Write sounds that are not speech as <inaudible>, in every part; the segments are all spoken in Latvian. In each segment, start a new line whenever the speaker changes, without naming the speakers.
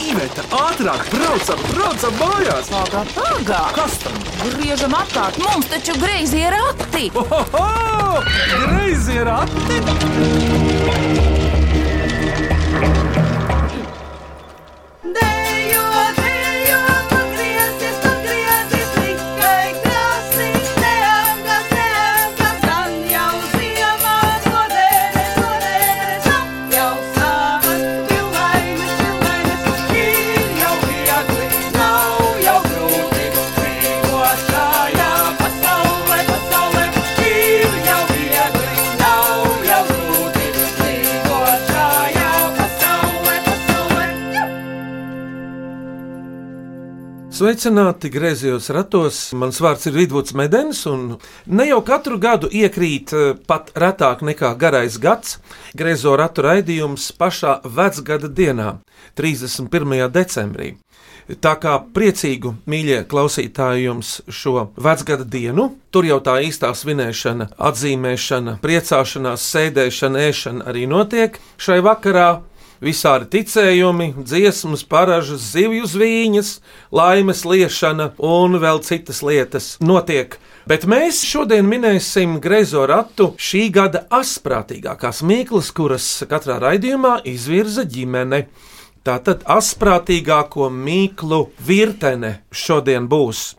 Iveta, ātrāk, braucam, braucam mājās!
Pagā, pagā!
Kas tam?
Griežam apkārt, mums taču greizi ir akti!
Ohoho! Greizi ir ati!
Dejo, dejo, pagriezies, pagriezies, tikai krāsīt, neapgāz, neapgāz, gan jau ziemā, nodēļ, nodēļ, sap jau savas, divlaimes, divlaimes, ir jau viegli, nav jau grūti, dzīvos šajā pasaulē, pasaulē, ir jau viegli, nav jau grūti, dzīvos šajā pasaulē, pasaulē, jau.
Sveicināti griezījos ratos. Mans vārds ir Vidvuds Medens, un ne jau katru gadu iekrīt eh, pat retāk nekā garais gads griezo ratu raidījums pašā vecgada dienā, 31. decembrī. Tā kā priecīgu, mīļie klausītāji, jums šo vecgada dienu, tur jau tā īstā svinēšana, atzīmēšana, priecāšanās, sēdēšana, ēšana arī notiek šai vakarā. Visādi ticējumi, dziesmas, paražas, zivju zvīņas, laimes liešana un vēl citas lietas notiek. Bet mēs šodien minēsim Greizo ratu šī gada asprātīgākās mīklas, kuras katrā raidījumā izvirza ģimene. Tātad asprātīgāko mīklu virtene šodien būs.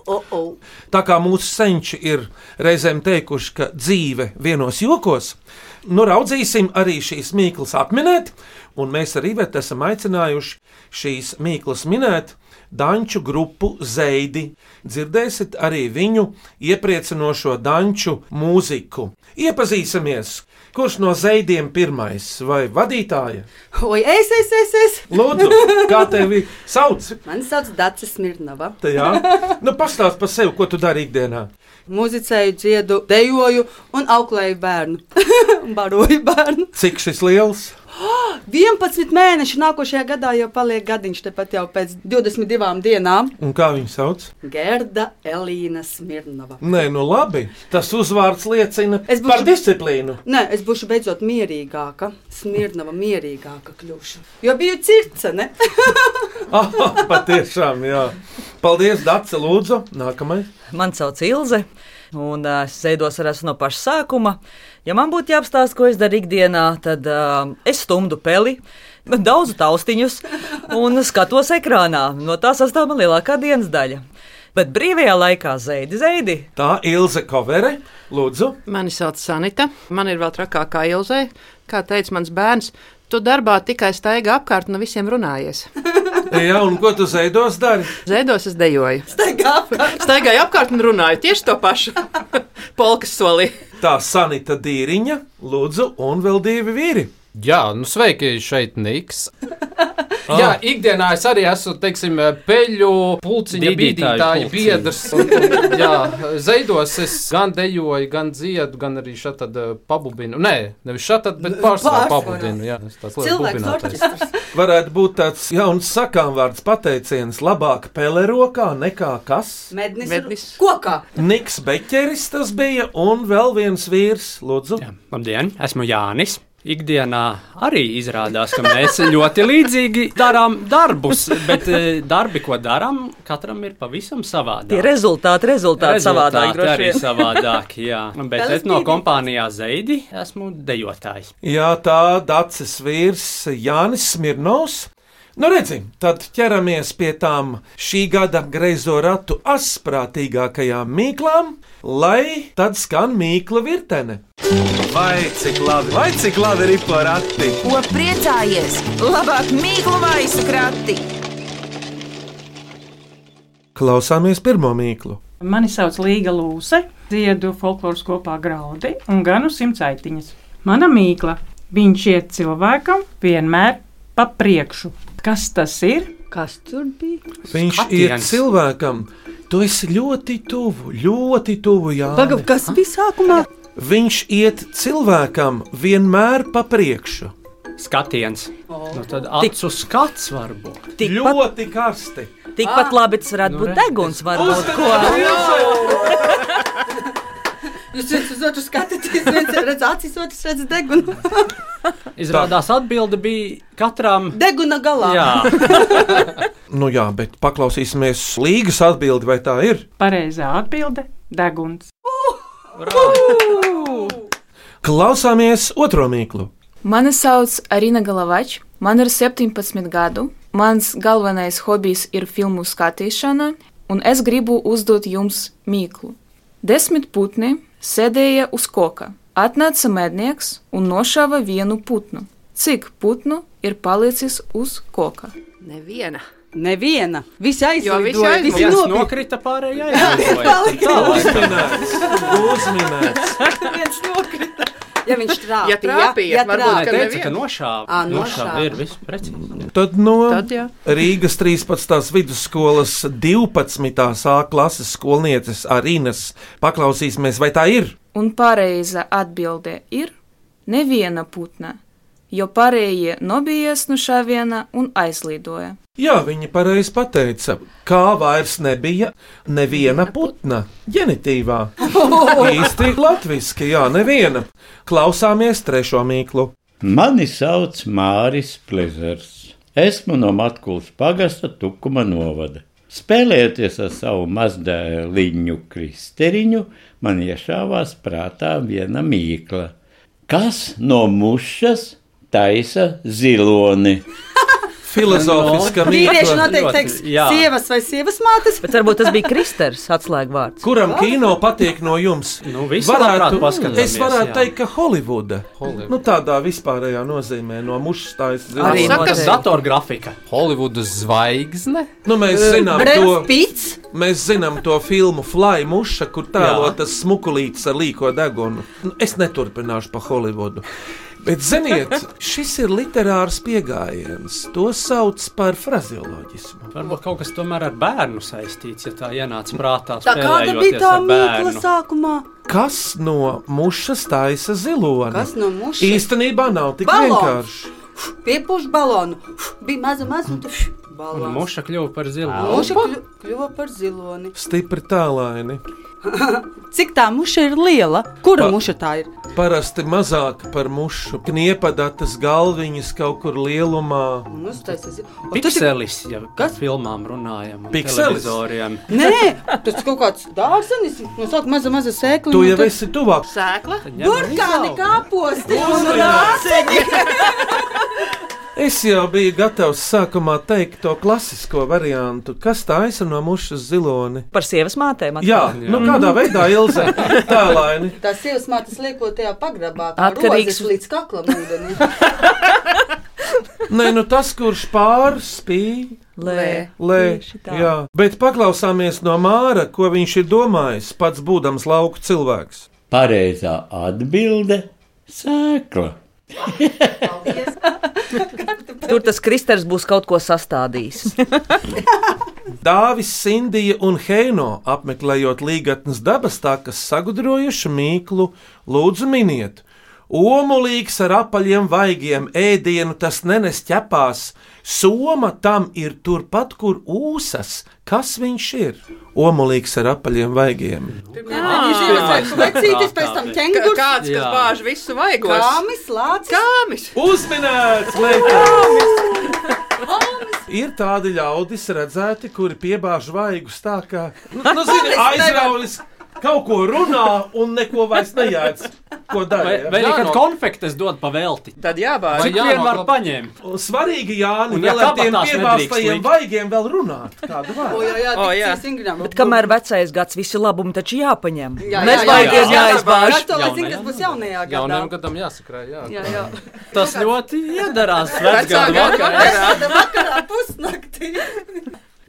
Tā kā mūsu senči ir reizēm teikuši, ka dzīve vienos jokos, nu raudzīsim arī šīs mīklas atminēt, un mēs arī vēl esam aicinājuši šīs mīklas minēt. Danču grupu Zeidi. Dzirdēsiet arī viņu iepriecinošo danču mūziku. Iepazīsimies, kurš no zeidiem pirmais vai vadītāja?
Oi, es, es, es, es.
Lūdzu, kā tevi sauc?
Mani sauc Dārcis Smirnava.
Tā Jā, nu pastāst par sevi, ko tu dari ikdienā.
Mūzicēju, dziedu, dejoju un auklēju bērnu. <laughs> Un baroju bērnu.
Cik šis liels?
11 mēneši nākošajā gadā jau paliek gadiņš, tepat jau pēc 22 dienām.
Un kā viņu sauc?
Gerda Elīna Smirnava.
Nē, nu labi. Tas uzvārds liecina
Es
būšu...
būšu-
par disciplīnu. <laughs>
Nē, es būšu beidzot mierīgāka. Smirnava mierīgāka kļūšu. Jo biju circene.
Ah, patiešām, jā. Paldies, Dārsa, lūdzu. Nākamais.
Mani sauc Ilze, un ā, es ziedos ar esmu no paša sākuma. Ja man būtu jāapstāsta, ko es daru ikdienā, tad uh, es stumdu peli, daudzu taustiņus un skatos ekrānā. No tā sastāv man lielākā dienas daļa. Bet brīvajā laikā zeidi, zeidi.
Tā Ilze Kovere, lūdzu.
Mani sauc Sanita. Man ir vēl trakākā ilzē. Kā teica mans bērns, tu darbā tikai staigā apkārt un no visiem runājies.
Jā, un ko tu zaidos dari?
Zēdos es dejoju.
Staigā apkārt.
Staigāju apkārt un runāju tieši to pašu. <laughs> Polkas solī.
Tā Sanita Dīriņa, lūdzu, un vēl divi vīri.
Jā, nu sveiki, šeit Niks. Jā, ikdienā es arī esmu, teiksim, peļu pulciņa
Bīdītāju
bīdītāja
pulciņa.
biedrs. Un, un, jā, zaidos es gan dejoju, gan dziedu, gan arī šeit eh, pabubinu. Nē, nevis šeit, bet pārsvarā
Pārsvarā.
pabubinu. Jā, es tāds liels
Cilvēks
bubinātājs.
orķestrs.
Varētu būt tāds jauns sakāmvārds pateiciens, labāk pele rokā nekā kas.
Mednis. Mednis.
Mednis.
Kokā.
Niks Beķeris tas bija, un vēl viens vīrs, lūdzu.
Jā. Labdien, esmu Jānis. Ikdienā arī izrādās, ka mēs ļoti līdzīgi darām darbus, bet eh, darbi, ko darām, katram ir pavisam savādāk.
Tie rezultāti, rezultāti, rezultāti savādāk. droši
arī
vien.
savādāk. Jā. Bet
Tas
es no
bija-
kompānijā Zeidi esmu dejotājs.
Jā, tā dacis vīrs Jānis Smirnovs. Nu, redziet, tad ķeramies pie tām šī gada greizo ratu asprātīgākajām mīklām, lai tad skan mīkla virtene.
Vai cik labi, vai cik labi ir porati!
Ko priecājies? Labāk mīklu maisu krati!
Klausāmies pirmo mīklu.
Mani sauc Līga Lūse, dziedu folkloras kopā graudi un ganu simtsaitiņas. Mana mīkla - viņš iet cilvēkam vienmēr pa priekšu. Kas tas ir?
Kas tur bija?
Viņš ir
Skatiens.
cilvēkam, tu esi ļoti tuvu, ļoti tuvu
Pagaid,
Jānis.
kas bija sākumā?
Viņš iet cilvēkam vienmēr pa priekšu.
Skatiens. Nu, tad acu skats varbūt.
Tikpat,
Ļoti karsti!
Ah.
tikpat labi tas varētu būt deguns, varbūt ko.
Nu,
Jūs viens uz otru skatāties, viens redz acis, otrs redz degunu.
Izrādās, atbilde bija katram.
<laughs> Deguna galā.
Nu jā, bet paklausīsimies Līgas atbildi, vai tā ir.
Pareizā atbilde - deguns.
Klausāmies otro mīklu.
Mani sauc Arina Galavač, man ir 17 gadu. Mans galvenais hobijs ir filmu skatīšana, un es gribu uzdot jums mīklu. Desmit putni sēdēja uz koka. Atnāca mednieks un nošāva vienu putnu. Cik putnu ir palicis uz koka?
Neviena.
Neviena. Visi aizjūta.
visi aizlidoja.
Viens nokrita, pārējie aizlidoja.
Uzminēts.
Viens nokrita. Ja
<laughs>
viņš trāpīja,
Ja trāpīja,
ja
varbūt
Nē,
trāpīja.
teica, ka
neviens.
nošāva.
Ā, nošāva.
nošāva. Ir viss precīzi.
Tad no
Tad jā.
Rīgas 13. vidusskolas 12. A klases skolnieces Arinas paklausīsimies, vai tā ir.
Un pareiza atbilde ir neviena putna, jo pārējie nobijās no šāviena un aizlidoja.
Jā, viņa pareizi pateica, kā vairs nebija neviena putna ģenitīvā. Īsti latviski, jā, neviena. Klausāmies trešo mīklu.
Mani sauc Māris Plezers. Esmu no Matkulas pagasta Tukuma novada. Spēlējoties ar savu mazdēliņu kristeriņu, man iešāvās prātā viena mīkla. Kas no mušas taisa ziloni?
Filozofiska
Vīrieši
mīkla.
noteikti
ļoti,
teiks,
jā.
sievas vai sievas mātes.
Bet varbūt tas bija Kristers atslēgvārds.
Kuram kino patīk no jums?
Nu, visi labprāt paskatāmies,
es varētu
jā.
teikt, ka Holivuda.
Holivuda.
Nu, tādā vispārējā nozīmē, no mušas tājas
Arī
ziloni.
no-
Saka, datorgrafika.
Holivudas zvaigzne.
Nu, mēs zinām to.
Brīvs pits.
Mēs zinām to filmu Fly Muša, kur tēlo tas smukulītis ar līko degunu. Nu, es neturpināšu pa Holivudu. Bet,
<laughs>
ziniet, šis ir literārs pieejams. To sauc par frazioloģismu.
Varbūt kaut kas tomēr ar bērnu saistīts, ja tā ienāca prātā.
Tā kāda bija tā mīkla
mīkla?
sākumā?
Kas no mušas taisa ziloni?
Kas no mušas?
Īstenībā nav tik
Balons.
vienkārši.
Piepūš balonu. Bija maza, maza, un tas balons.
Muša kļuva par zilu.
Muša kļu- kļuva par ziloni.
Stipri tālaini.
Cik tā muša ir liela? Kura
Pa-
muša tā ir?
Parasti mazāk par mušu. Kniepadatas galviņas kaut kur lielumā.
Un uztaisīja zi- O, tas ir-
Pikselis, ja
Kas?
kas filmām runājam, un
Pikselis?
televizoriem.
Nē, tas kaut kāds dārzenis. No sākuma maza, maza sēkla. nu,
Tu jau esi tuvāk.
Sēkla.
Burkāni kāposti un rāceņi.
Es jau biju gatavs sākumā teikt to klasisko variantu, kas taisa no mušas ziloni.
Par sievas mātēm. atkal.
Jā, jā. Nu, kādā veidā Ilze tēlaini.
Tā sievas mātes lieko tajā pagrabā.
Atkarīgs-
Atkarīgs līdz kaklam ūdenī.
Nē, nu tas, kurš pārspīja.
Lē.
Lē,
Tieši tā.
jā, bet paklausāmies no Māra, ko viņš ir domājis pats būdams lauku cilvēks.
Pareizā atbilde - sēkla.
Tur tas Kristers būs kaut ko sastādījis.
<laughs>
Dāvis, Sindija un Heino apmeklējot līgatnes dabas takas sagudrojuši mīklu, lūdzu miniet. Omulīgs ar apaļiem vaigiem ēdienu tas nenes ķepās, soma tam ir turpat, kur ūsas, kas viņš ir. Omulīgs ar apaļiem vaigiem.
Viņš ir vecītis, pēc tam
K-
kengurs.
Kāds, kas
Jā.
bāž visu vaigos?
Kāmis, lācis.
Kāmis.
Uzminēts! Leipāns! Ir tādi ļaudis, redzēti, kuri piebāž vaigus tā, ka nu, nu, zini, aizraulis kaut ko runā un neko vairs nejēdz. Ko
Vai,
dara?
vai
ja?
arī, kad
no-
konfektes dod pavēlti.
Tad jābāž.
Cik
jā,
vien
no
var
kaut-
paņemt?
Un Svarīgi, Jāni,
Un ja
vēl ar tiem
kabatās nedrīkst
piebāztajiem
likt.
vaigiem vēl runāt. Kādu
O,
vārdu?
jā, jā,
O,
tik
jā.
cīs Ingridam.
Bet kamēr vecais gads, visi labumi taču jāpaņem.
Jā, jā,
Nezvaigies,
jā, jā.
jāizbāž.
Kas to lai zina,
Jaunajā.
kas būs jaunajā gadā?
Jaunam gadam jāsakrāj, jā.
Jā, jā.
Tas
<laughs>
ļoti iedarās
Vecā
vecgadu
gada
vakarā.
vakarā.
Tāda vakarā pusnaktī.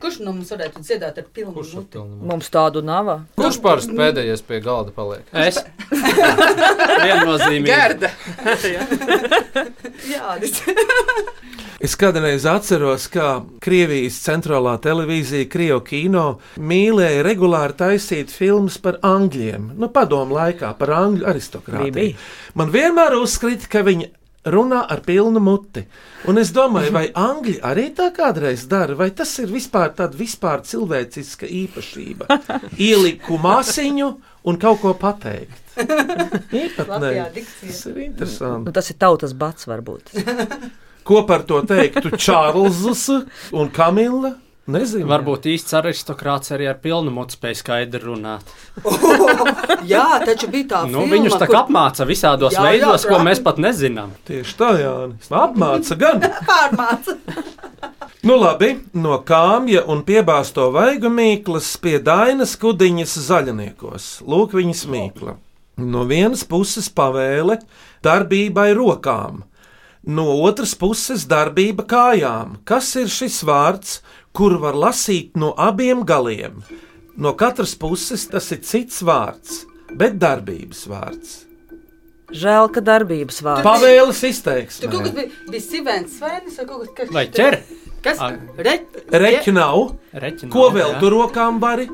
Kurš no mums varētu dziedāt ar pilnu
Kurš
muti?
atpilnumā?
Mums tādu nav.
Kurš parasti pēdējais pie galda paliek?
Es.
<laughs>
Viennozīmīgi.
Gerda.
Jā, tas <laughs>
Es kādreiz atceros, ka Krievijas centrālā televīzija, Krievu kino, mīlēja regulāri taisīt filmas par angļiem. Nu, padomu laikā par angļu
Bija, bija.
aristokrātiju. Man vienmēr uzskrita, ka viņi runā ar pilnu muti. Un es domāju, vai angļi arī tā kādreiz dara, vai tas ir vispār tāda vispār cilvēciska īpašība. Ielikt kumāsiņu un kaut ko pateikt. Īpatnē. Tas ir interesanti.
Nu, tas ir tautas bats, varbūt.
Ko par to teiktu Čārlzs un Kamila? Nezinu.
Varbūt īsts aristokrāts arī ar pilnu mutu spēju skaidri runāt.
jā, taču bija tā
Nu,
filma,
viņus tā kā apmāca visādos
Jā, jā,
veidos, ko
protams.
mēs pat nezinām.
Tieši tā, Jānis. Apmāca gan.
Pārmāca.
Nu, labi, no kāmja un piebāzto vaigu mīklas pie Dainas kudiņas zaļniekos. Lūk, viņas mīkla. No vienas puses pavēle darbībai rokām, no otras puses darbība kājām. Kas ir šis vārds, kur var lasīt no abiem galiem? No katras puses tas ir cits vārds, bet darbības vārds.
Žēl, ka darbības vārds.
Pavēles izteiksme.
Tur kaut kas bija, bija sivens svēnis vai kaut kas tāds.
Vai ķer?
Kas?
Ag-
Re,
Reķi nav.
Reķi
Ko
nav,
vēl
jā.
tur rokām vari?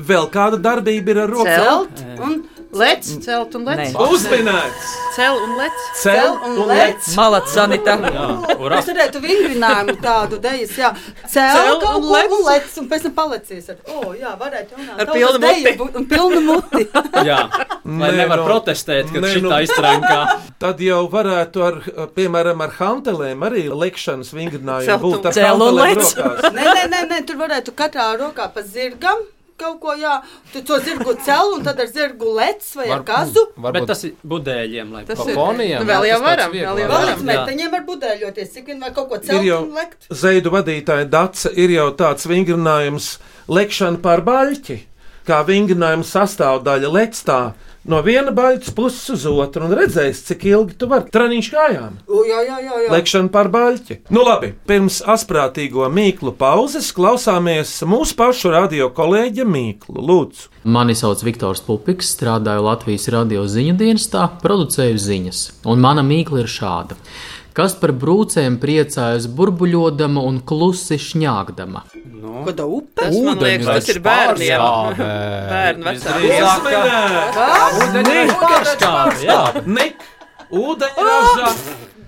Vēl kāda darbība ir ar rokām?
Celt un lec, celt un lec.
Nē. Uzminēts!
Cel un lec.
Cel un lec.
Malacis, Anita.
Es redzēju, tu vingrinājumu tādu dejas, jā. Cēl
Cēl
kaut
un
ko
lec.
un lec, un pēc tam palacies ar, o, jā, varētu runāt.
Ar
Tautas
pilnu
deju
muti.
bu- Un pilnu muti.
<laughs>
Jā, lai
Nē,
nevar
nu,
protestēt, kad
nē, nu.
šitā
<laughs>
iztrankā.
Tad jau varētu, ar, piemēram, ar hantelēm arī lekšanas vingrinājumu
Celt un-
būt ar
Cel un
hantelēm
lec.
rokās.
Nē, nē, nē, nē, tur varētu katrā rokā pa zirgam kaut ko, jā. Tu to zirgu cel un tad ar zirgu lec vai ar kazu.
Varbūt. Bet tas ir budēļiem, lai
Tas
ir- Nu, vēl jau varam, vēl jau
Vēl līdz
varam. Jā.
meiteņiem var budēļoties, cik vien var kaut ko
Ir
celt
jau
un lekt.
zaidu vadītāja daca, ir jau tāds vingrinājums, lekšana pār baļķi, kā vingrinājuma sastāvdaļa lectā. No viena baļķa puses uz otru, un redzēs, cik ilgi tu vari treniņš kājām.
O, jā, jā, jā, jā.
Lekšana par baļķi. Nu, labi, pirms asprātīgo mīklu pauzes klausāmies mūsu pašu radio kolēģa Mīklu. Lūdzu,
Mani sauc Viktors Pupiks, strādāju Latvijas radio ziņu dienestā, producēju ziņas, un mana mīkla ir šāda. Kas par brūcēm priecājas burbuļodama un klusi šņāgdama?
Nu.
Kāda upe?
Tas, man liekas, tas ir bērniem. Bērnu
Uzminēt!
vecākiem.
Ūdeņraža
pārskābe, jā.
Nik! Ūdeņraža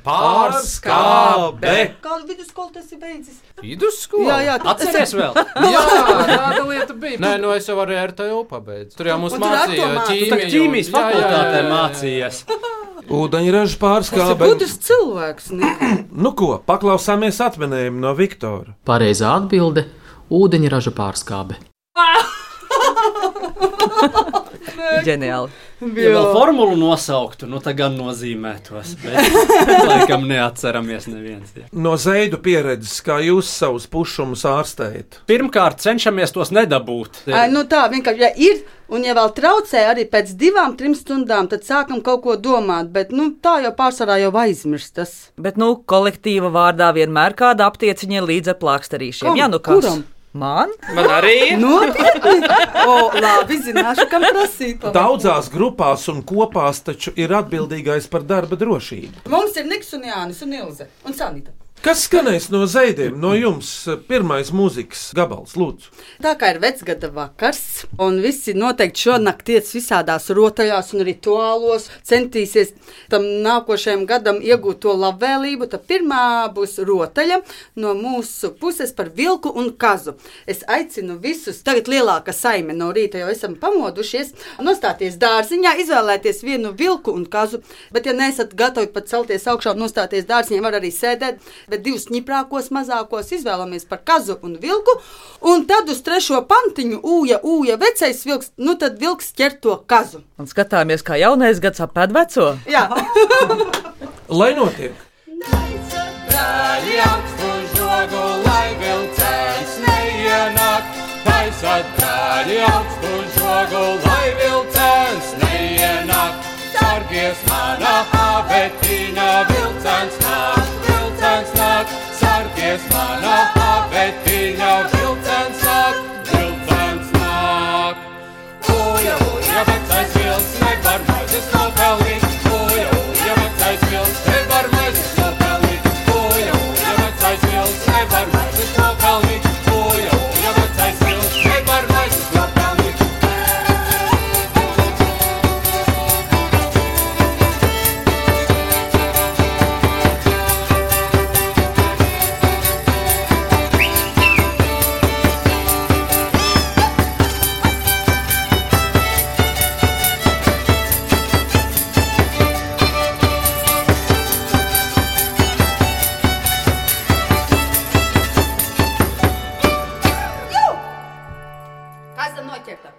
pārskābe!
Kādu vidusskolu tas ir beidzis?
Vidusskola?
Jā, jā, tu-
atceries
<laughs>
vēl. jā, tāda lieta bija. Nē, nu es jau arī ar tevi pabeidzu. Tur jau mums
Un tur
mācīja
atomā.
Tu
ķīmiju.
tā Nu, ķīmijas
Jā, jā, jā,
fakultātē
jā, jā.
mācījies.
Ūdeņraža
Tas ir
pārskābe!
gudrs cilvēks. Nika.
Nu, ko paklausāmies atminējumu no Viktora?
Pareizā atbilde - ūdeņraža pārskābe.
Ģeniāli.
Ja vēl formulu nosauktu, nu tā gan nozīmētos.
<laughs>
Bet laikam neatceramies neviens. Jā.
No zaidu pieredzes, kā jūs savus pušumus ārstējat?
Pirmkārt, cenšamies tos nedabūt.
Ai, nu tā vienkārši ja ir. Un, ja vēl traucē, arī pēc divām, trim stundām, tad sākam kaut ko domāt. Bet nu, tā jau pārsvarā jau aizmirst. Tas.
Bet, nu, kolektīva vārdā vienmēr kāda aptieciņa ir līdz ar plākstarīšiem.
Kam?
Jā, nu kas?
Kuram?
Man?
Man arī.
Nopietni! Nu, <laughs> O, labi, zināšu, kam prasīt.
Daudzās grupās un kopās taču ir atbildīgais par darba drošību.
Mums ir Niks un Jānis un Ilze un Sanita.
Kas skanēs no zaidiem? No jums eh, pirmais mūzikas gabals, lūdzu.
Tā kā ir vecgada vakars, un visi noteikti šonakt iet visādās rotaļās un rituālos, centīsies tam nākošajam gadam iegūt to labvēlību, tad pirmā būs rotaļa no mūsu puses par vilku un kazu. Es aicinu visus, tagad lielāka saime no rīta jau esam pamodušies, nostāties dārziņā, izvēlēties vienu vilku un kazu, bet ja neesat gatavi pat celties augšā un nostāties dārziņā, var arī sēdēt, bet divus ņiprākos mazākos izvēlamies par kazu un vilku. Un tad uz trešo pantiņu ūja, ūja vecais vilks, nu tad vilks ķer to kazu.
Un skatāmies, kā jaunais gads apēd veco.
Jā, <laughs>
Lai notiek!
Brāļi augstu žogu, lai vēl cēlis neienāk. Taisa brāļi augstu žogu, lai vēl cēlis neienāk. Sargies mana abetīna, vilcens nāk, vilcens nāk. Sargies mana abetīna, vilcens nāk, vilcens nāk. Uja, uja, vecais vilks, nevar maizes nopelnīt. Uja, uja, vecais vilks, nevar maizes nopelnīt. Uja, uja, vecais vilks, nevar maizes nopelnīt. Uja, uja, vecais vilks, nevar maizes nopelnīt.
esam noķerta.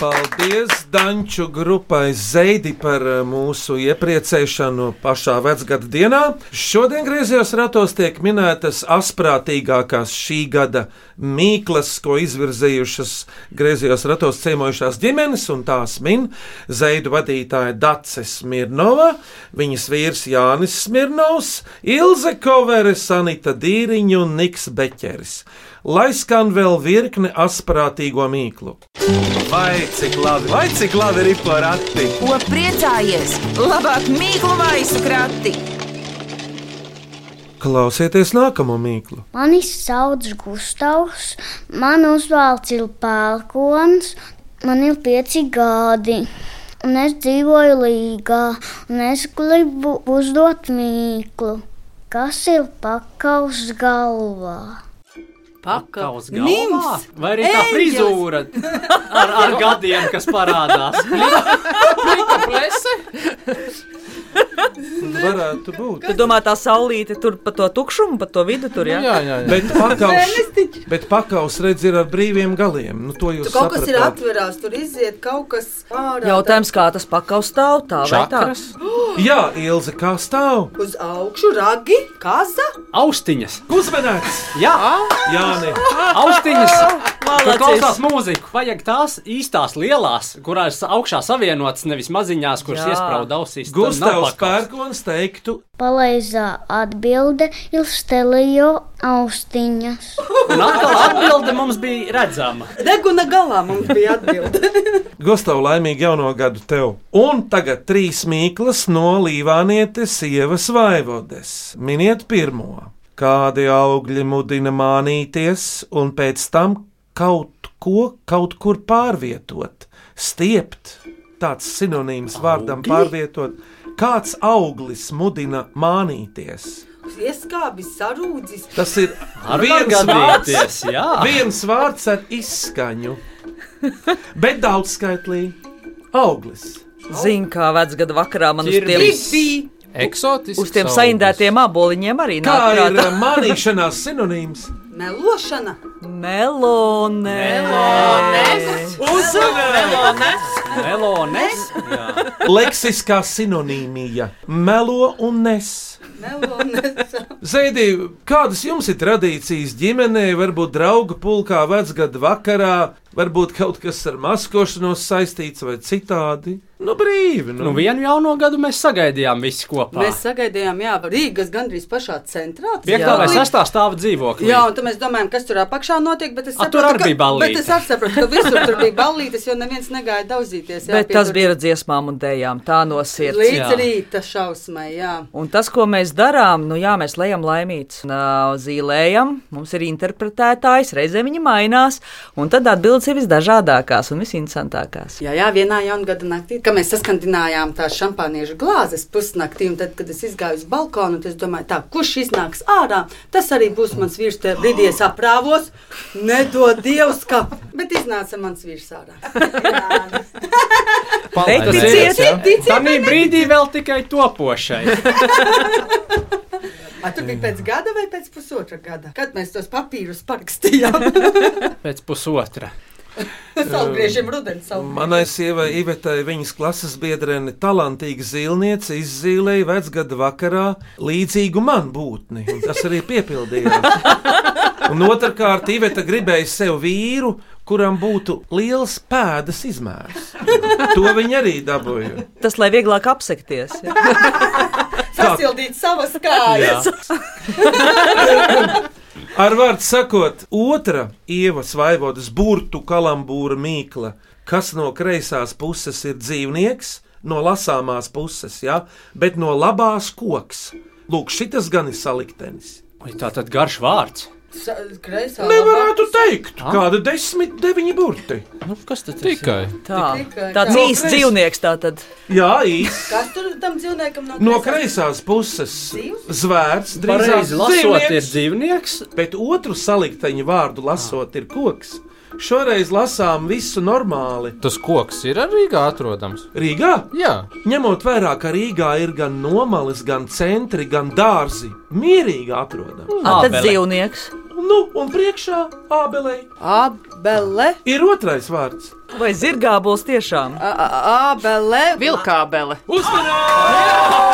Paldies Danču grupai Zeidi par eh, mūsu iepriecēšanu pašā vecgada dienā. Šodien griezījos ratos tiek minētas asprātīgākās šī gada mīklas, ko izvirzījušas griezījos ratos ciemojušās ģimenes, un tās min Zeidu vadītāja Dace Smirnova, viņas vīrs Jānis Smirnovs, Ilze Koveres, Anita Dīriņa un Niks Beķeris. Lai skan vēl virkne asprātīgo mīklu.
Vai cik labi, vai cik labi ir porakti?
Ko priecājies? Labāk mīklu maisu krati.
Klausieties nākamo mīklu.
Mani sauc Gustavs, man uzvalds ir pērkons, man ir pieci gadi. Un es dzīvoju līgā, un es gribu uzdot mīklu. Kas ir pakaus galvā?
Pakaus galvā?
Nims!
Vai arī tā
Eņģelis!
frizūra ar, ar gadiem, kas parādās?
Varētu būt.
Tu domā, tā saulīte tur pa to tukšumu, pa to vidu tur,
Nu
jā?
<laughs>
Bet pakaus, bet pakaus redz ir ar brīviem galiem. Nu, to jūs
Tur kaut kas ir
sapratāt.
atverās, tur iziet kaut kas ārā.
Jautājums, kā tas pakaus stāv tā vai tā?
Jā, Ilze, kā stāv?
Uz augšu ragi, kaza.
Austiņas.
Uzmanīgs!
Jā,
Jāni.
Austiņas!
Malacis.
Tur klausās mūziku. Vajag tās īstās lielās, kurās augšā savienotas, nevis maziņās, kuras
Jā.
iesprāda ausīs. Tad nav
Gustavs
pakaus.
Pērkons teiktu,
Pareizā atbilde ir stelijo austiņas.
Un atkal atbilde mums bija redzama.
Deguna galā mums bija atbilde.
Gustav, laimīgi jauno gadu tev! Un tagad trīs mīklas no Līvānietes sievas vaivodes. Miniet pirmo. Kādi augļi mudina mānīties un pēc tam kaut ko kaut kur pārvietot? Stiept, tāds sinonīms vārdam pārvietot. Kāds auglis mudina mānīties?
Ieskābis, sarūdzis.
Tas ir
Ar
viens vārds,
pagadīties, jā.
viens vārds ar izskaņu, bet daudzskaitlī auglis.
Zini, kā vecgada vakarā man uz tiem
Ķirbis. Eksotisks
Uz tiem
augurs.
saindētiem aboliņiem arī
Kā
nāk
ir
prātā.
<laughs> uh, mānīšanās sinonīms?
Melošana.
Melone. Melones.
Melones.
Melones.
Leksiskā sinonīmija - melo un nes. Zaidī, kādas jums ir tradīcijas ģimenē, varbūt draugu pulkā, vecgada vakarā, varbūt kaut kas ar maskošanos saistīts vai citādi? Nu, brīvi!
Nu, vienu jauno gadu mēs sagaidījām visi kopā.
<laughs> Mēs sagaidījām, jā, Rīgas gandrīz pašā centrā. Tas
Piektā vai
bija-
sestā stāva dzīvoklī.
Jā, un tad mēs domājam, kas tur apakšā notiek. Bet es
A, tur
sapratu,
arī bija
ka,
ballīte.
bet es arī sapratu, ka visur tur bija ballītes, jo neviens negaidīja daudzīties. Jā,
Bet
pie
tas
tur-
bija ar dziesmām un dējām. Tā nosiet.
līdz rīta šausmai. Jā.
Un tas, ko mēs darām, nu jā, mēs lejam laimīts, un, ā, zīlējam, mums ir interpretētājs, reizē viņi mainās, un tad atbildes ir visdažādākās un visinteresantākās.
Jā, jā, vienā jaungada naktī, kad mēs saskandinājām tās šampāniešu glāzes pusnaktī, un tad, kad es izgāju uz balkonu, tad es domāju, tā, kurš iznāks ārā, tas arī būs mans vīrs. Te brīdī es aprāvos, nedod dievs, ka. Bet iznāca mans vīrs ārā. <laughs>
Paldies,
Ticiet,
tas ir, jā.
ticiet vai
Tanī brīdī vēl tikai topošai.
A, tur bija pēc gada vai pēc pusotra gada, kad mēs tos papīrus parakstījām. <laughs>
Pēc pusotra.
Saldgriežiem rudenī savu.
Manai sievai Ivetai viņas klases biedrene, talantīga zīlniece, izzīmēja vecgada vakarā līdzīgu man būtni. un Tas arī piepildījās. Un otrkārt, Iveta gribēja sev vīru, kuram būtu liels pēdas izmērs. To viņa arī dabūja.
Tas, lai vieglāk apsekties. jā.
Sasildīt savas kājas.
Ar vārdu sakot, otra ievas vaivodas burtu kalambūra mīkla, kas no kreisās puses ir dzīvnieks, no lasāmās puses, ja? bet no labās koks. Lūk, šitas gan ir saliktenis.
Tā tad garš vārds.
Kreisā.
Nevarētu teikt, kāda desmit, deviņi burti.
Nu, kas tad
Tikai.
Tā.
Tikai
Tāds
tā.
īsts dzīvnieks tā tad.
Jā, īsti.
Kas tur tam dzīvniekam no,
No kreisās puses zvērts, drīzāk
Pareizi lasot, ir
dzīvnieks, bet otru salikteņu vārdu lasot ir koks. Šoreiz lasām visu normāli.
Tas koks ir arī Rīgā atrodams.
Rīgā?
Jā.
Ņemot vērā, ka Rīgā ir gan nomalis, gan centri, gan dārzi, mierīgi atrodam.
Ah, tad dzīvnieks.
Nu, un priekšā abelē.
Abele.
Ir otrais vārds.
Vai zirgābols tiešām?
Abele.
Vilkābele.
Vilkābele.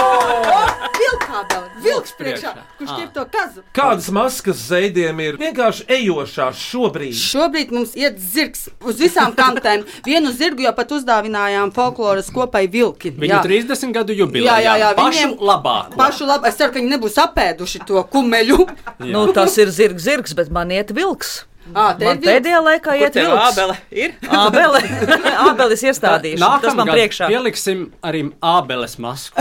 Vilks priekšā. Ah.
priekšā.
Kurš
Ā.
ķer to kazu?
Kādas maskas zeidiem ir vienkārši ejošās šobrīd?
Šobrīd mums iet zirgs uz visām kantēm. Vienu zirgu jau pat uzdāvinājām folkloras kopai vilki.
Viņu 30 gadu jubileja.
Jā, jā, jā,
pašu
viņiem-
labāk.
Pašu labi, es ceru, ka viņi nebūs apēduši to kumeļu.
Nu, tas ir zirgs, zirgs, bet man iet vilks.
À, te ir
Man
vilks.
pēdējā laikā
Kur
iet
tev
vilks.
ābele
ir? <laughs> Ābele. <laughs> Ābeles iestādīšu. Tas man
Nākamgad
priekšā.
Pieliksim arī ābeles
<laughs>
masku.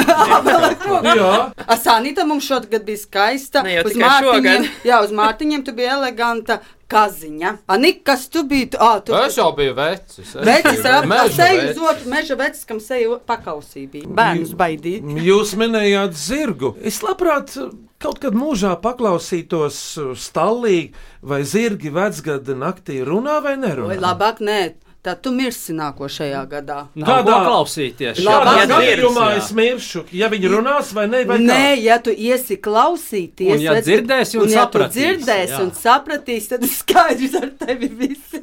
Jā.
Asanita mums šogad bija skaista.
Ne jau
Uz
tikai
mārciņiem,
šogad.
jā, uz mārciņiem tu biji eleganta kaziņa. Anika, kas tu biji? Ah, tu
Es jau biju vecis.
Vecis ar
Meža
seju
vecis.
zotu, meža vecis, kam seju pakausī bija. Bērns baidīt.
Jūs minējāt zirgu. Es labprāt kaut kad mūžā paklausītos uh, stallī, vai zirgi vecgada naktī runā vai
Vai
nerunā.
labāk nē, tad tu mirsi nākošajā gadā.
klausīties?
Kādā
Jā,
gadījumā
jā.
es miršu, ja viņi runās vai ne? Vai kā?
Nē, ja tu iesi klausīties,
Un ja
redz,
dzirdēsi un
un ja tu
sapratīs,
dzirdēsi
jā.
un sapratīsi, tad ir skaidrs ar tevi viss.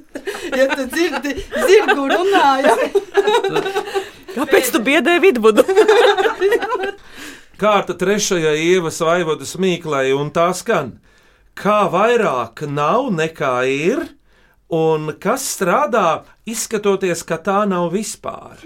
Ja tu dzirdi zirgu runājumu,
Kāpēc tu biedē vidbudu?
Kārta trešajai ievas vaivodas mīklai, un tā skan. Kā vairāk nav nekā ir, un kas strādā, izskatoties, ka tā nav vispār.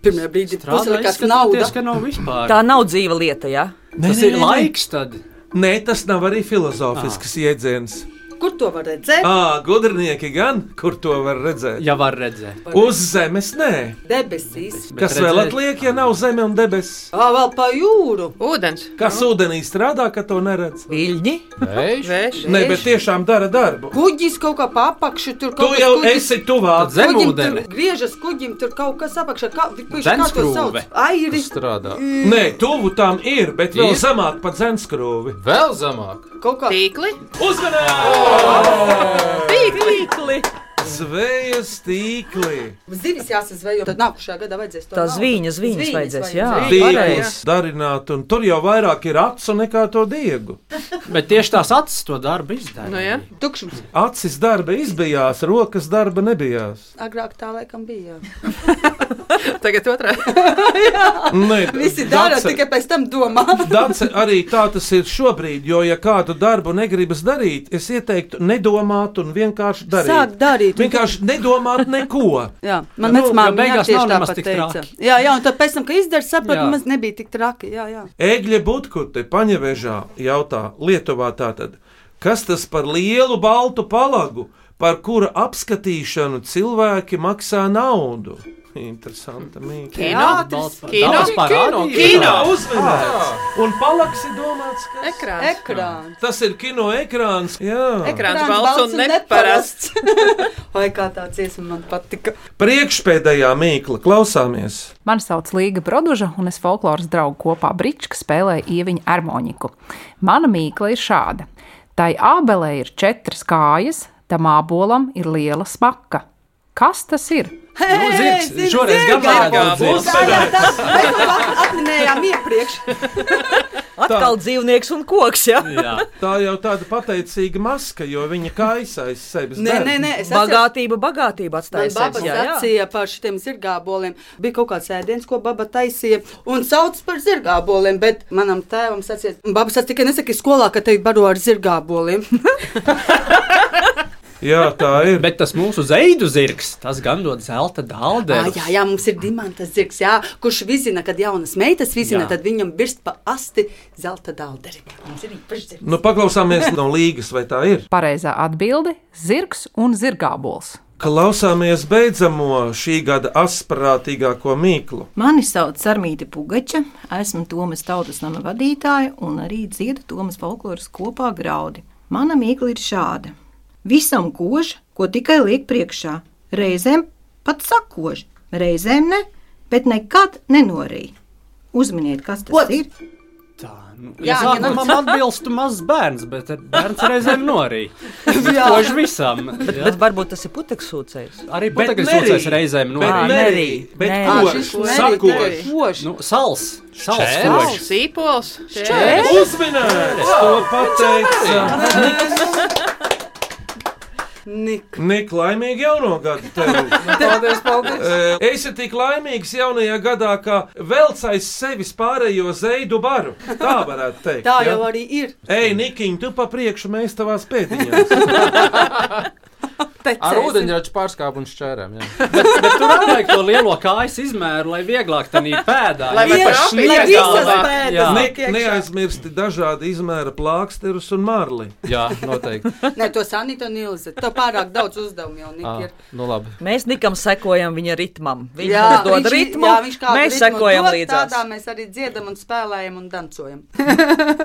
Pirmā brīdī
Strādā, puslikas izskatoties, nauda. ka
nav vispār.
Tā nav dzīva lieta, jā.
Tas ir laiks tad.
Nē, tas nav arī filozofisks
Ah.
jēdziens.
kur to var redzēt?
Ā, gudrnieki gan, kur to var redzēt?
Ja var redzēt.
Uz zemes nē.
Debesīs.
Kas vēl atliek, ja nav zeme un debesis?
Ā, vēl pa jūru.
Ūdens.
Kas
Nu.
ūdenī strādā, ka to neredz?
Viļņi?
Vējš.
Nē, bet tiešām dara darbu.
Kuģis kaut kā papakšu, tur
Tu
kaut
jau
kuģis-
esi tuvāk
Kuģim tur griežas kuģim, tur kaut kas apakšā. Kā, puiši, kā to sauc?
Zemeskrūve.
Airi.
Strādā.
Nē, tuvu tam ir, bet vēl
Ir?
zemāk par zemeskrūvi.
Vēl zemāk.
Kaut kā
tīkli.
Tīkli!
Zvejas tīkli!
Zivis jāsazvejo, tad nākošajā gadā vajadzēs to.
Tā
naudu.
zviņas, zviņas vajadzēs, jā.
Tīklus darināt, un tur jau vairāk ir acu nekā to diegu.
Bet tieši tās acis to darbu izdara.
Nu, jā. Tukšums.
Acis darba izbijās, rokas darba
<laughs>
nebijās.
Agrāk tā laikam
<laughs>
bija.
Tagad otrā.
Nē,
Visi dara,
Dace-
tikai <laughs> pēc tam domā.
Dace, arī tā tas ir šobrīd, jo, ja kādu darbu negribas darīt, es ieteiktu nedomāt un vienkārši darīt.
Sāk darīt.
Vienkārši nedomāt neko.
Jā, man
Nu,
vecumā
jo
bija
beigās
tieši
nav nemaz
tāpat
tik
teica.
traki.
Jā, jā, un tad pēc tam, kad izdara, sapratu,
Jā.
nemaz nebija tik traki. Jā, jā.
Egļa Butkute paņevežā jautā Lietuvā tātad, kas tas par lielu baltu palagu, par kura apskatīšanu cilvēki maksā naudu? Interesanta mīkla.
Kino? Kino?
Daudz parādīju.
Kino?
Uzmanīts.
Ah!
Un palaks ir domāts, ka
E,
Ekrāns.
Ekrāns.
Tas ir kino ekrāns. Jā.
Ekrāns balts un neparasts.
<laughs> Vai kā tā dziesma man patika?
Priekšpēdējā mīkla klausāmies.
Mani sauc Līga Broduža, un es folkloras draugu kopā Brička spēlēju ieviņu harmoniku. Mana mīkla ir šāda. Tai abelē ir četras kājas, tam abolam ir liela smaka. Kas tas ir?
Hei,
Nu, zirgs,
zirgs,
šoreiz
zirgs!
gan
Jā,
zirgs.
būs tā, jā, tas- mēs to Atminējām iepriekš.
Atkal dzīvnieks un koks, jā.
Jā. Tā jau tāda pateicīga maska, jo viņa kaisa aiz sevis.
Nē,
dara.
nē, nē, es
Bagātība, bagātība
Man
atstāja
baba
sevi. jā, jā.
sacīja par šiem zirgāboliem. Bija kaut kāds ēdiens, ko baba taisīja un sauc par zirgāboliem, bet manam tēvam sacīja, baba sacīja, tikai nesaki skolā, ka tevi baro ar
<laughs>
zirgāboliem.
Jā, tā ir.
Bet tas mūsu zaidu zirgs, tas gan dod zelta dāldē.
Ah, jā, jā, mums ir dimantas zirgs, jā, kurš vizina, kad jaunas meitas vizina,
Jā.
tad viņam birst pa asti zelta dalderi. Mums ir īpašs zirgs.
Nu, paklausāmies no līgas, vai tā ir.
Pareizā atbilde - zirgs un zirgābols.
Klausāmies beidzamo šī gada asprātīgāko mīklu.
Mani sauc Armīti Pugača, esmu Tomas Tautas nama vadītāja un arī dziedu Tomas folkloras kopā graudi. Mana mīkla ir šāda. Visam kož, ko tikai liek priekšā. Reizēm pat sakož, reizēm ne, bet nekad nenorī. Uzminiet, kas tas Ot. ir.
tā. Nu,
Jā,
jā,
ja
sākumā
nu-
man atbilstu mazs bērns, bet ar- bērns reizēm <laughs> norī.
Jā.
Kož visam.
Bet, bet varbūt tas ir putekļs sūcējs.
Arī putekļi sūcēs reizēm
Bet
norī.
nerī.
Bet
Nerī. Ā,
kož,
šis nerī,
sakož.
nerī.
Nu, sals. Sals.
Čērs.
kož.
Sals, īpols,
Čērs. Uzmanīgs! To pateica Nika, laimīgi jauno gadu tev!
Paldies, paldies!
Eh, Esi tik laimīgs jaunajā gadā, ka velc aiz sevis pārējo zeidu baru. Tā varētu teikt.
Tā jau arī ir.
Ej, Nikiņ, tu pa priekšu, mēs tavās pēdiņās.
Ar ūdeņrača pārskāpumu šķērēm. jā.
Bet tur arī vajag to lielo kājas izmēru, lai vieglāk tā nīpēdā.
Lai var apiet,
pa
lai
šniegā,
visas
vai-
pēdas
Jā.
Ne, neaizmirsti dažādi izmēra plāksterus un marli.
Jā, noteikti.
Nē, to sanīto nilzi. Tev pārāk daudz uzdevumu jau
Ā,
nekad.
Nu, labi.
Mēs nikam sekojam viņa ritmam. Ah. Viņš jā,
Jā,
mums dod
viņš-
ritmu,
jā, viņš kādu
mēs
ritmu
sekojam
dod,
līdzās.
Tādā mēs arī dziedam un spēlējam un dancojam.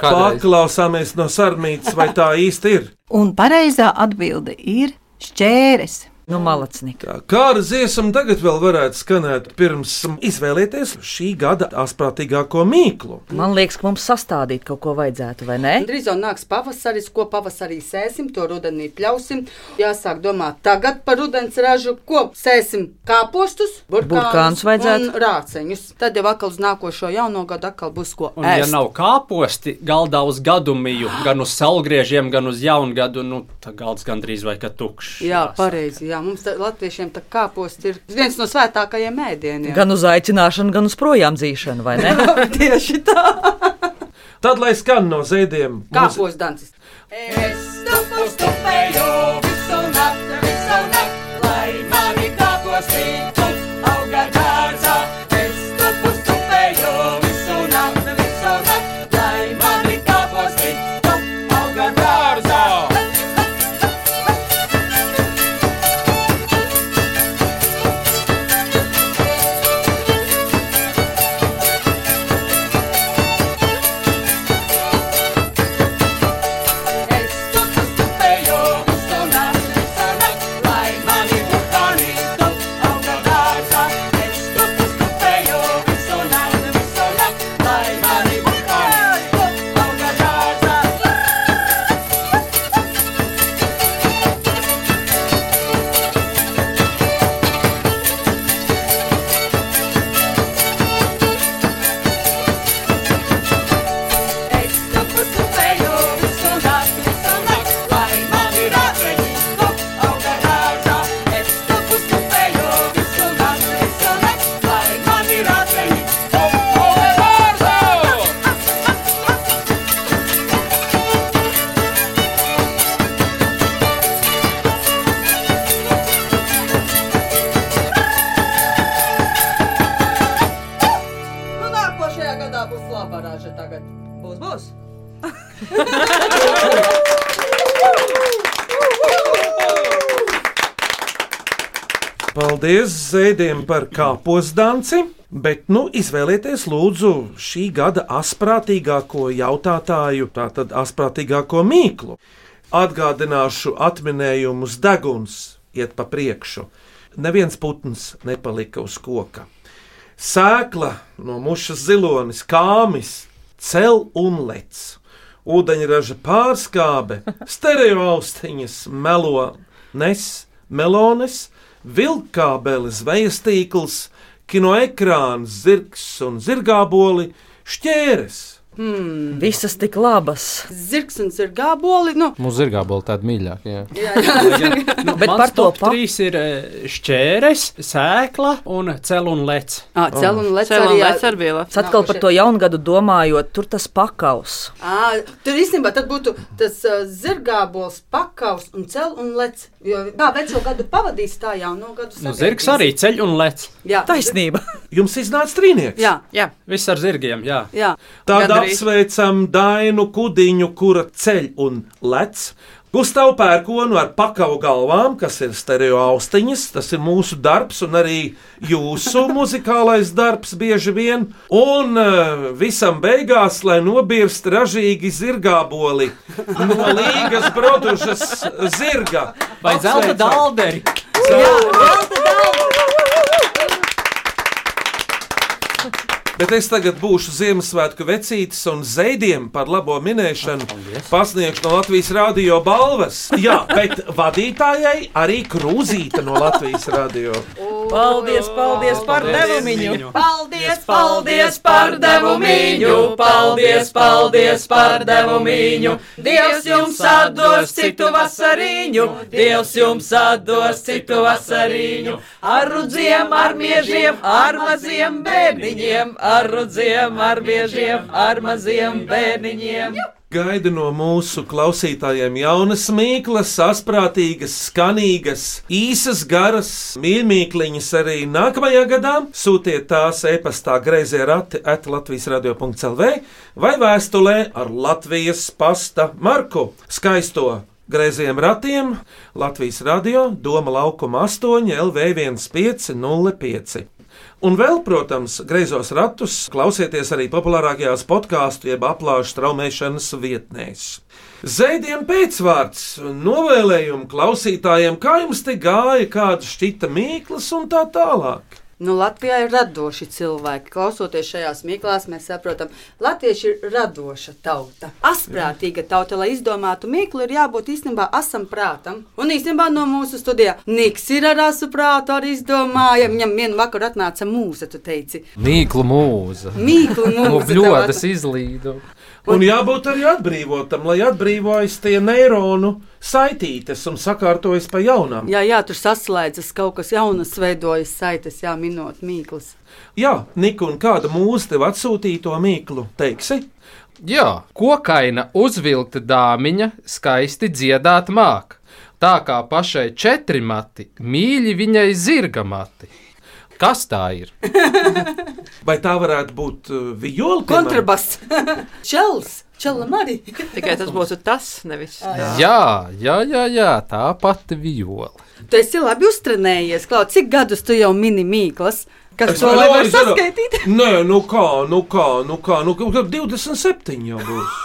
Paklausāmies no sarmītes, vai tā īsti ir.
Un pareizā atbilde ir šķēres.
Nu, malacnieki.
Kāda dziesma tagad vēl varētu skanēt, pirms izvēlieties šī gada astprātīgāko mīklu?
Man liekas, ka mums sastādīt kaut ko vajadzētu, vai ne?
Drīz jau nāks pavasaris, ko pavasarī sēsim, to rudenī pļausim. Jāsāk domāt tagad par rudens ražu, ko sēsim kāpostus,
Burkānus
burkānus
vajadzētu.
un rāceņus. Tad jau atkal uz nākošo jauno gadu atkal būs ko
Un, ja
ēst.
nav kāposti, galdā uz gadumiju, gan uz salgriežiem, gan uz jaungadu, nu, tad galds gandrīz vai ka tukšs.
Jā, pareizi. Jā, mums tā, latviešiem tā kāposts ir viens no svētākajiem mēdieniem.
Gan uz aicināšanu, gan uz projām dzīšanu, vai ne?
<laughs> Tieši tā.
Tad lai skan no zēdiem.
Kāpos dancis.
Stupu stupēju visu nakti, visu nakti, lai mani pues kāposītu auga dārzā. Es stupu stupēju visu nakti, visu nakti, lai mani kāposītu auga dārzā. pues Stupēju visu nakti, visu nakti, lai mani burkanītu auga dārzā. Es stupu stupēju visu nakti, visu nakti, lai mani burkanītu auga dārzā.
Nu, nākošajā gadā būs laba raža tagad. Būs, būs.
Paldies zēdiem par kāposdanci, bet nu izvēlieties lūdzu šī gada asprātīgāko jautātāju, tātad asprātīgāko mīklu. Atgādināšu atminējumus deguns iet pa priekšu. Neviens putns nepalika uz koka. Sēkla no mušas zilonis, kāmis, cel un lec. Ūdeņraža pārskābe, stereo austiņas, melo, nes, melones, vilkābeles, zvejas tīkls, kino ekrāns, zirgs un zirgāboli, šķēres.
Hmm.
Visas tik labas.
Zirgs un zirgāboli. Nu,
Mums zirgā būtu tāda mīļāka. jā.
jā, <laughs> jā.
Nu,
Bet
mans
par to
top trīs ir eh, šķēres, sēkla un cel un lec.
Ah, cel un lec
Cel un
arī, jā.
lec ar vielu.
Es atkal par to jaungadu domājot, tur tas pakaus.
À, tur īstenībā tad būtu tas uh, zirgābols, pakaus un cels un lec. Jo kā veco gadu pavadīs, tā jauno gadu
Nu, zirgs arī ceļ un lec.
Jā.
Taisnība.
Jums iznāca strīnieks.
Jā, jā.
Viss ar zirgiem, jā.
jā.
Tad
Gandrīz.
apsveicam Dainu Kudiņu, kura ceļ un lec. Gustavu pērkonu ar pakautu galvām, kas ir stereo austiņas. Tas ir mūsu darbs un arī jūsu muzikālais darbs bieži vien. Un eh, visam beigās, lai nobirst ražīgi zirgāboli no Līgas brodušas zirga.
Vai zelta dalderi?
Jā, zelta dalderi! Bet es tagad būšu Ziemassvētku vecītis un zeidiem par labo minēšanu. Pasniegšu no Latvijas radio balvas. Jā, bet vadītājai arī krūzīta no Latvijas radio.
Paldies, paldies par devumiņu! Paldies, paldies
par devumiņu, paldies, paldies par devumiņu. Dievs jums atdos citu vasariņu, Dievs jums atdos citu vasariņu. Ar rudziem, ar miežiem, ar maziem bērniņiem, ar rudziem, ar miežiem, ar maziem bērniņiem.
Gaida no mūsu klausītājiem jaunas mīklas, sasprātīgas, skanīgas, īsas, garas, mīkliņas arī nākamajā gadā. Sūtiet tās e-pastā grazē rati at Latvijas radio.clv vai vēstulē ar Latvijas pasta marku skaisto. Grēziem ratiem Latvijas radio Doma laukuma 8 LV1505. Un vēl, protams, greizos ratus klausieties arī populārākajās podkāstu jeb aplāšu traumēšanas vietnēs. Zēdiem pēcvārds, novēlējumu klausītājiem, kā jums te gāja, kāda šķita mīklas un tā tālāk.
Nu, Latvijā ir radoši cilvēki. Klausoties šajās mīklās, mēs saprotam, ka latvieši ir radoša tauta. Asprātīga tauta, lai izdomātu mīklu, ir jābūt īstenībā asam prātam. Un īstenībā no mūsu studijā Niks ir ar asu prātu arī izdomāja. Viņam vienā vakarā atnāca mūza, tu teici.
Mīklu mūza.
Mīklu mūza
No
tev
bļodas
atnāk.
izlīdu.
Un jābūt arī atbrīvotam, lai atbrīvojas tie neironu saitītes un sakārtojas pa jaunam.
Jā, jā, tur saslēdzas kaut kas jaunas, veidojas saites, jā, minot mīklas.
Jā, Nika, un kāda mūzika tev atsūtīto mīklu teiksi?
Jā, kokaina uzvilkta dāmiņa skaisti dziedāt māk. Tā kā pašai četri mati, mīļi viņai zirga mati. Kas tā ir?
Vai tā varētu būt uh, vijola?
Kontrabass. <laughs> Čels, čelam arī.
Tikai tas būtu tas, nevis.
Jā, jā, jā, jā tā pati viola.
Tu esi labi uztrenējies, Klau, cik gadus tu jau mini mīklas? Kas to lai var saskaitīt?
Nē, nu kā, nu kā, nu kā, nu kā, kā 27 jau būs.
<laughs>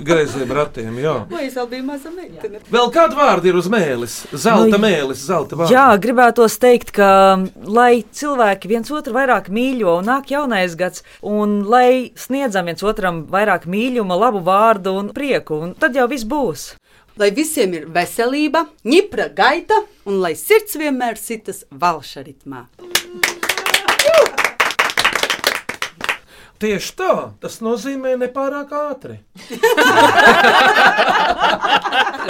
Grēziem ratiem, jā.
Vai es vēl biju maza meitene?
Vēl kāda vārda ir uz mēlis? Zelta
Nu,
nu, mēlis, zelta vārda.
Jā, gribētos teikt, ka mm, lai cilvēki viens otru vairāk mīļo, un nāk jaunais gads, un lai sniedzam viens otram vairāk mīlestības, labu vārdu un prieku, un tad jau viss būs.
Lai visiem ir veselība, ņipra gaita un lai sirds vienmēr sitas valša ritmā.
Tieši tā, tas nozīmē nepārāk ātri.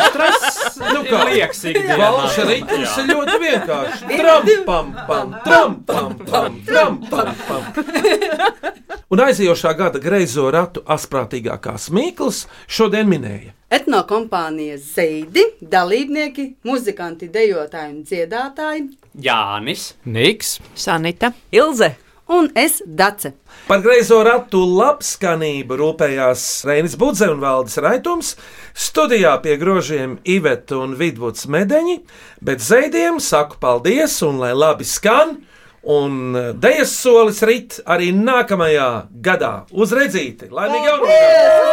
Stress nu kā
ir liekas ikdienā.
Valša ritms ir ļoti vienkāršs.
Divi,
Trampam, pam, trampam, pam, trampam, pam. Un aizejošā gada greizo ratu asprātīgākās mīklas šodien minēja.
Etno kompānijas zeidi, dalībnieki, muzikanti, dejotāji un dziedātāji
Jānis,
Niks,
Sanita,
Ilze
un es Dace.
Par greizo ratu labskanību rūpējās Reinis Budze un Valdis Raitums, studijā pie grožiem Iveta un Vidvuds Medeņi, bet zeidiem saku paldies un lai labi skan, un eh, dejas solis rit arī nākamajā gadā. Uz redzīti! Laimīgi!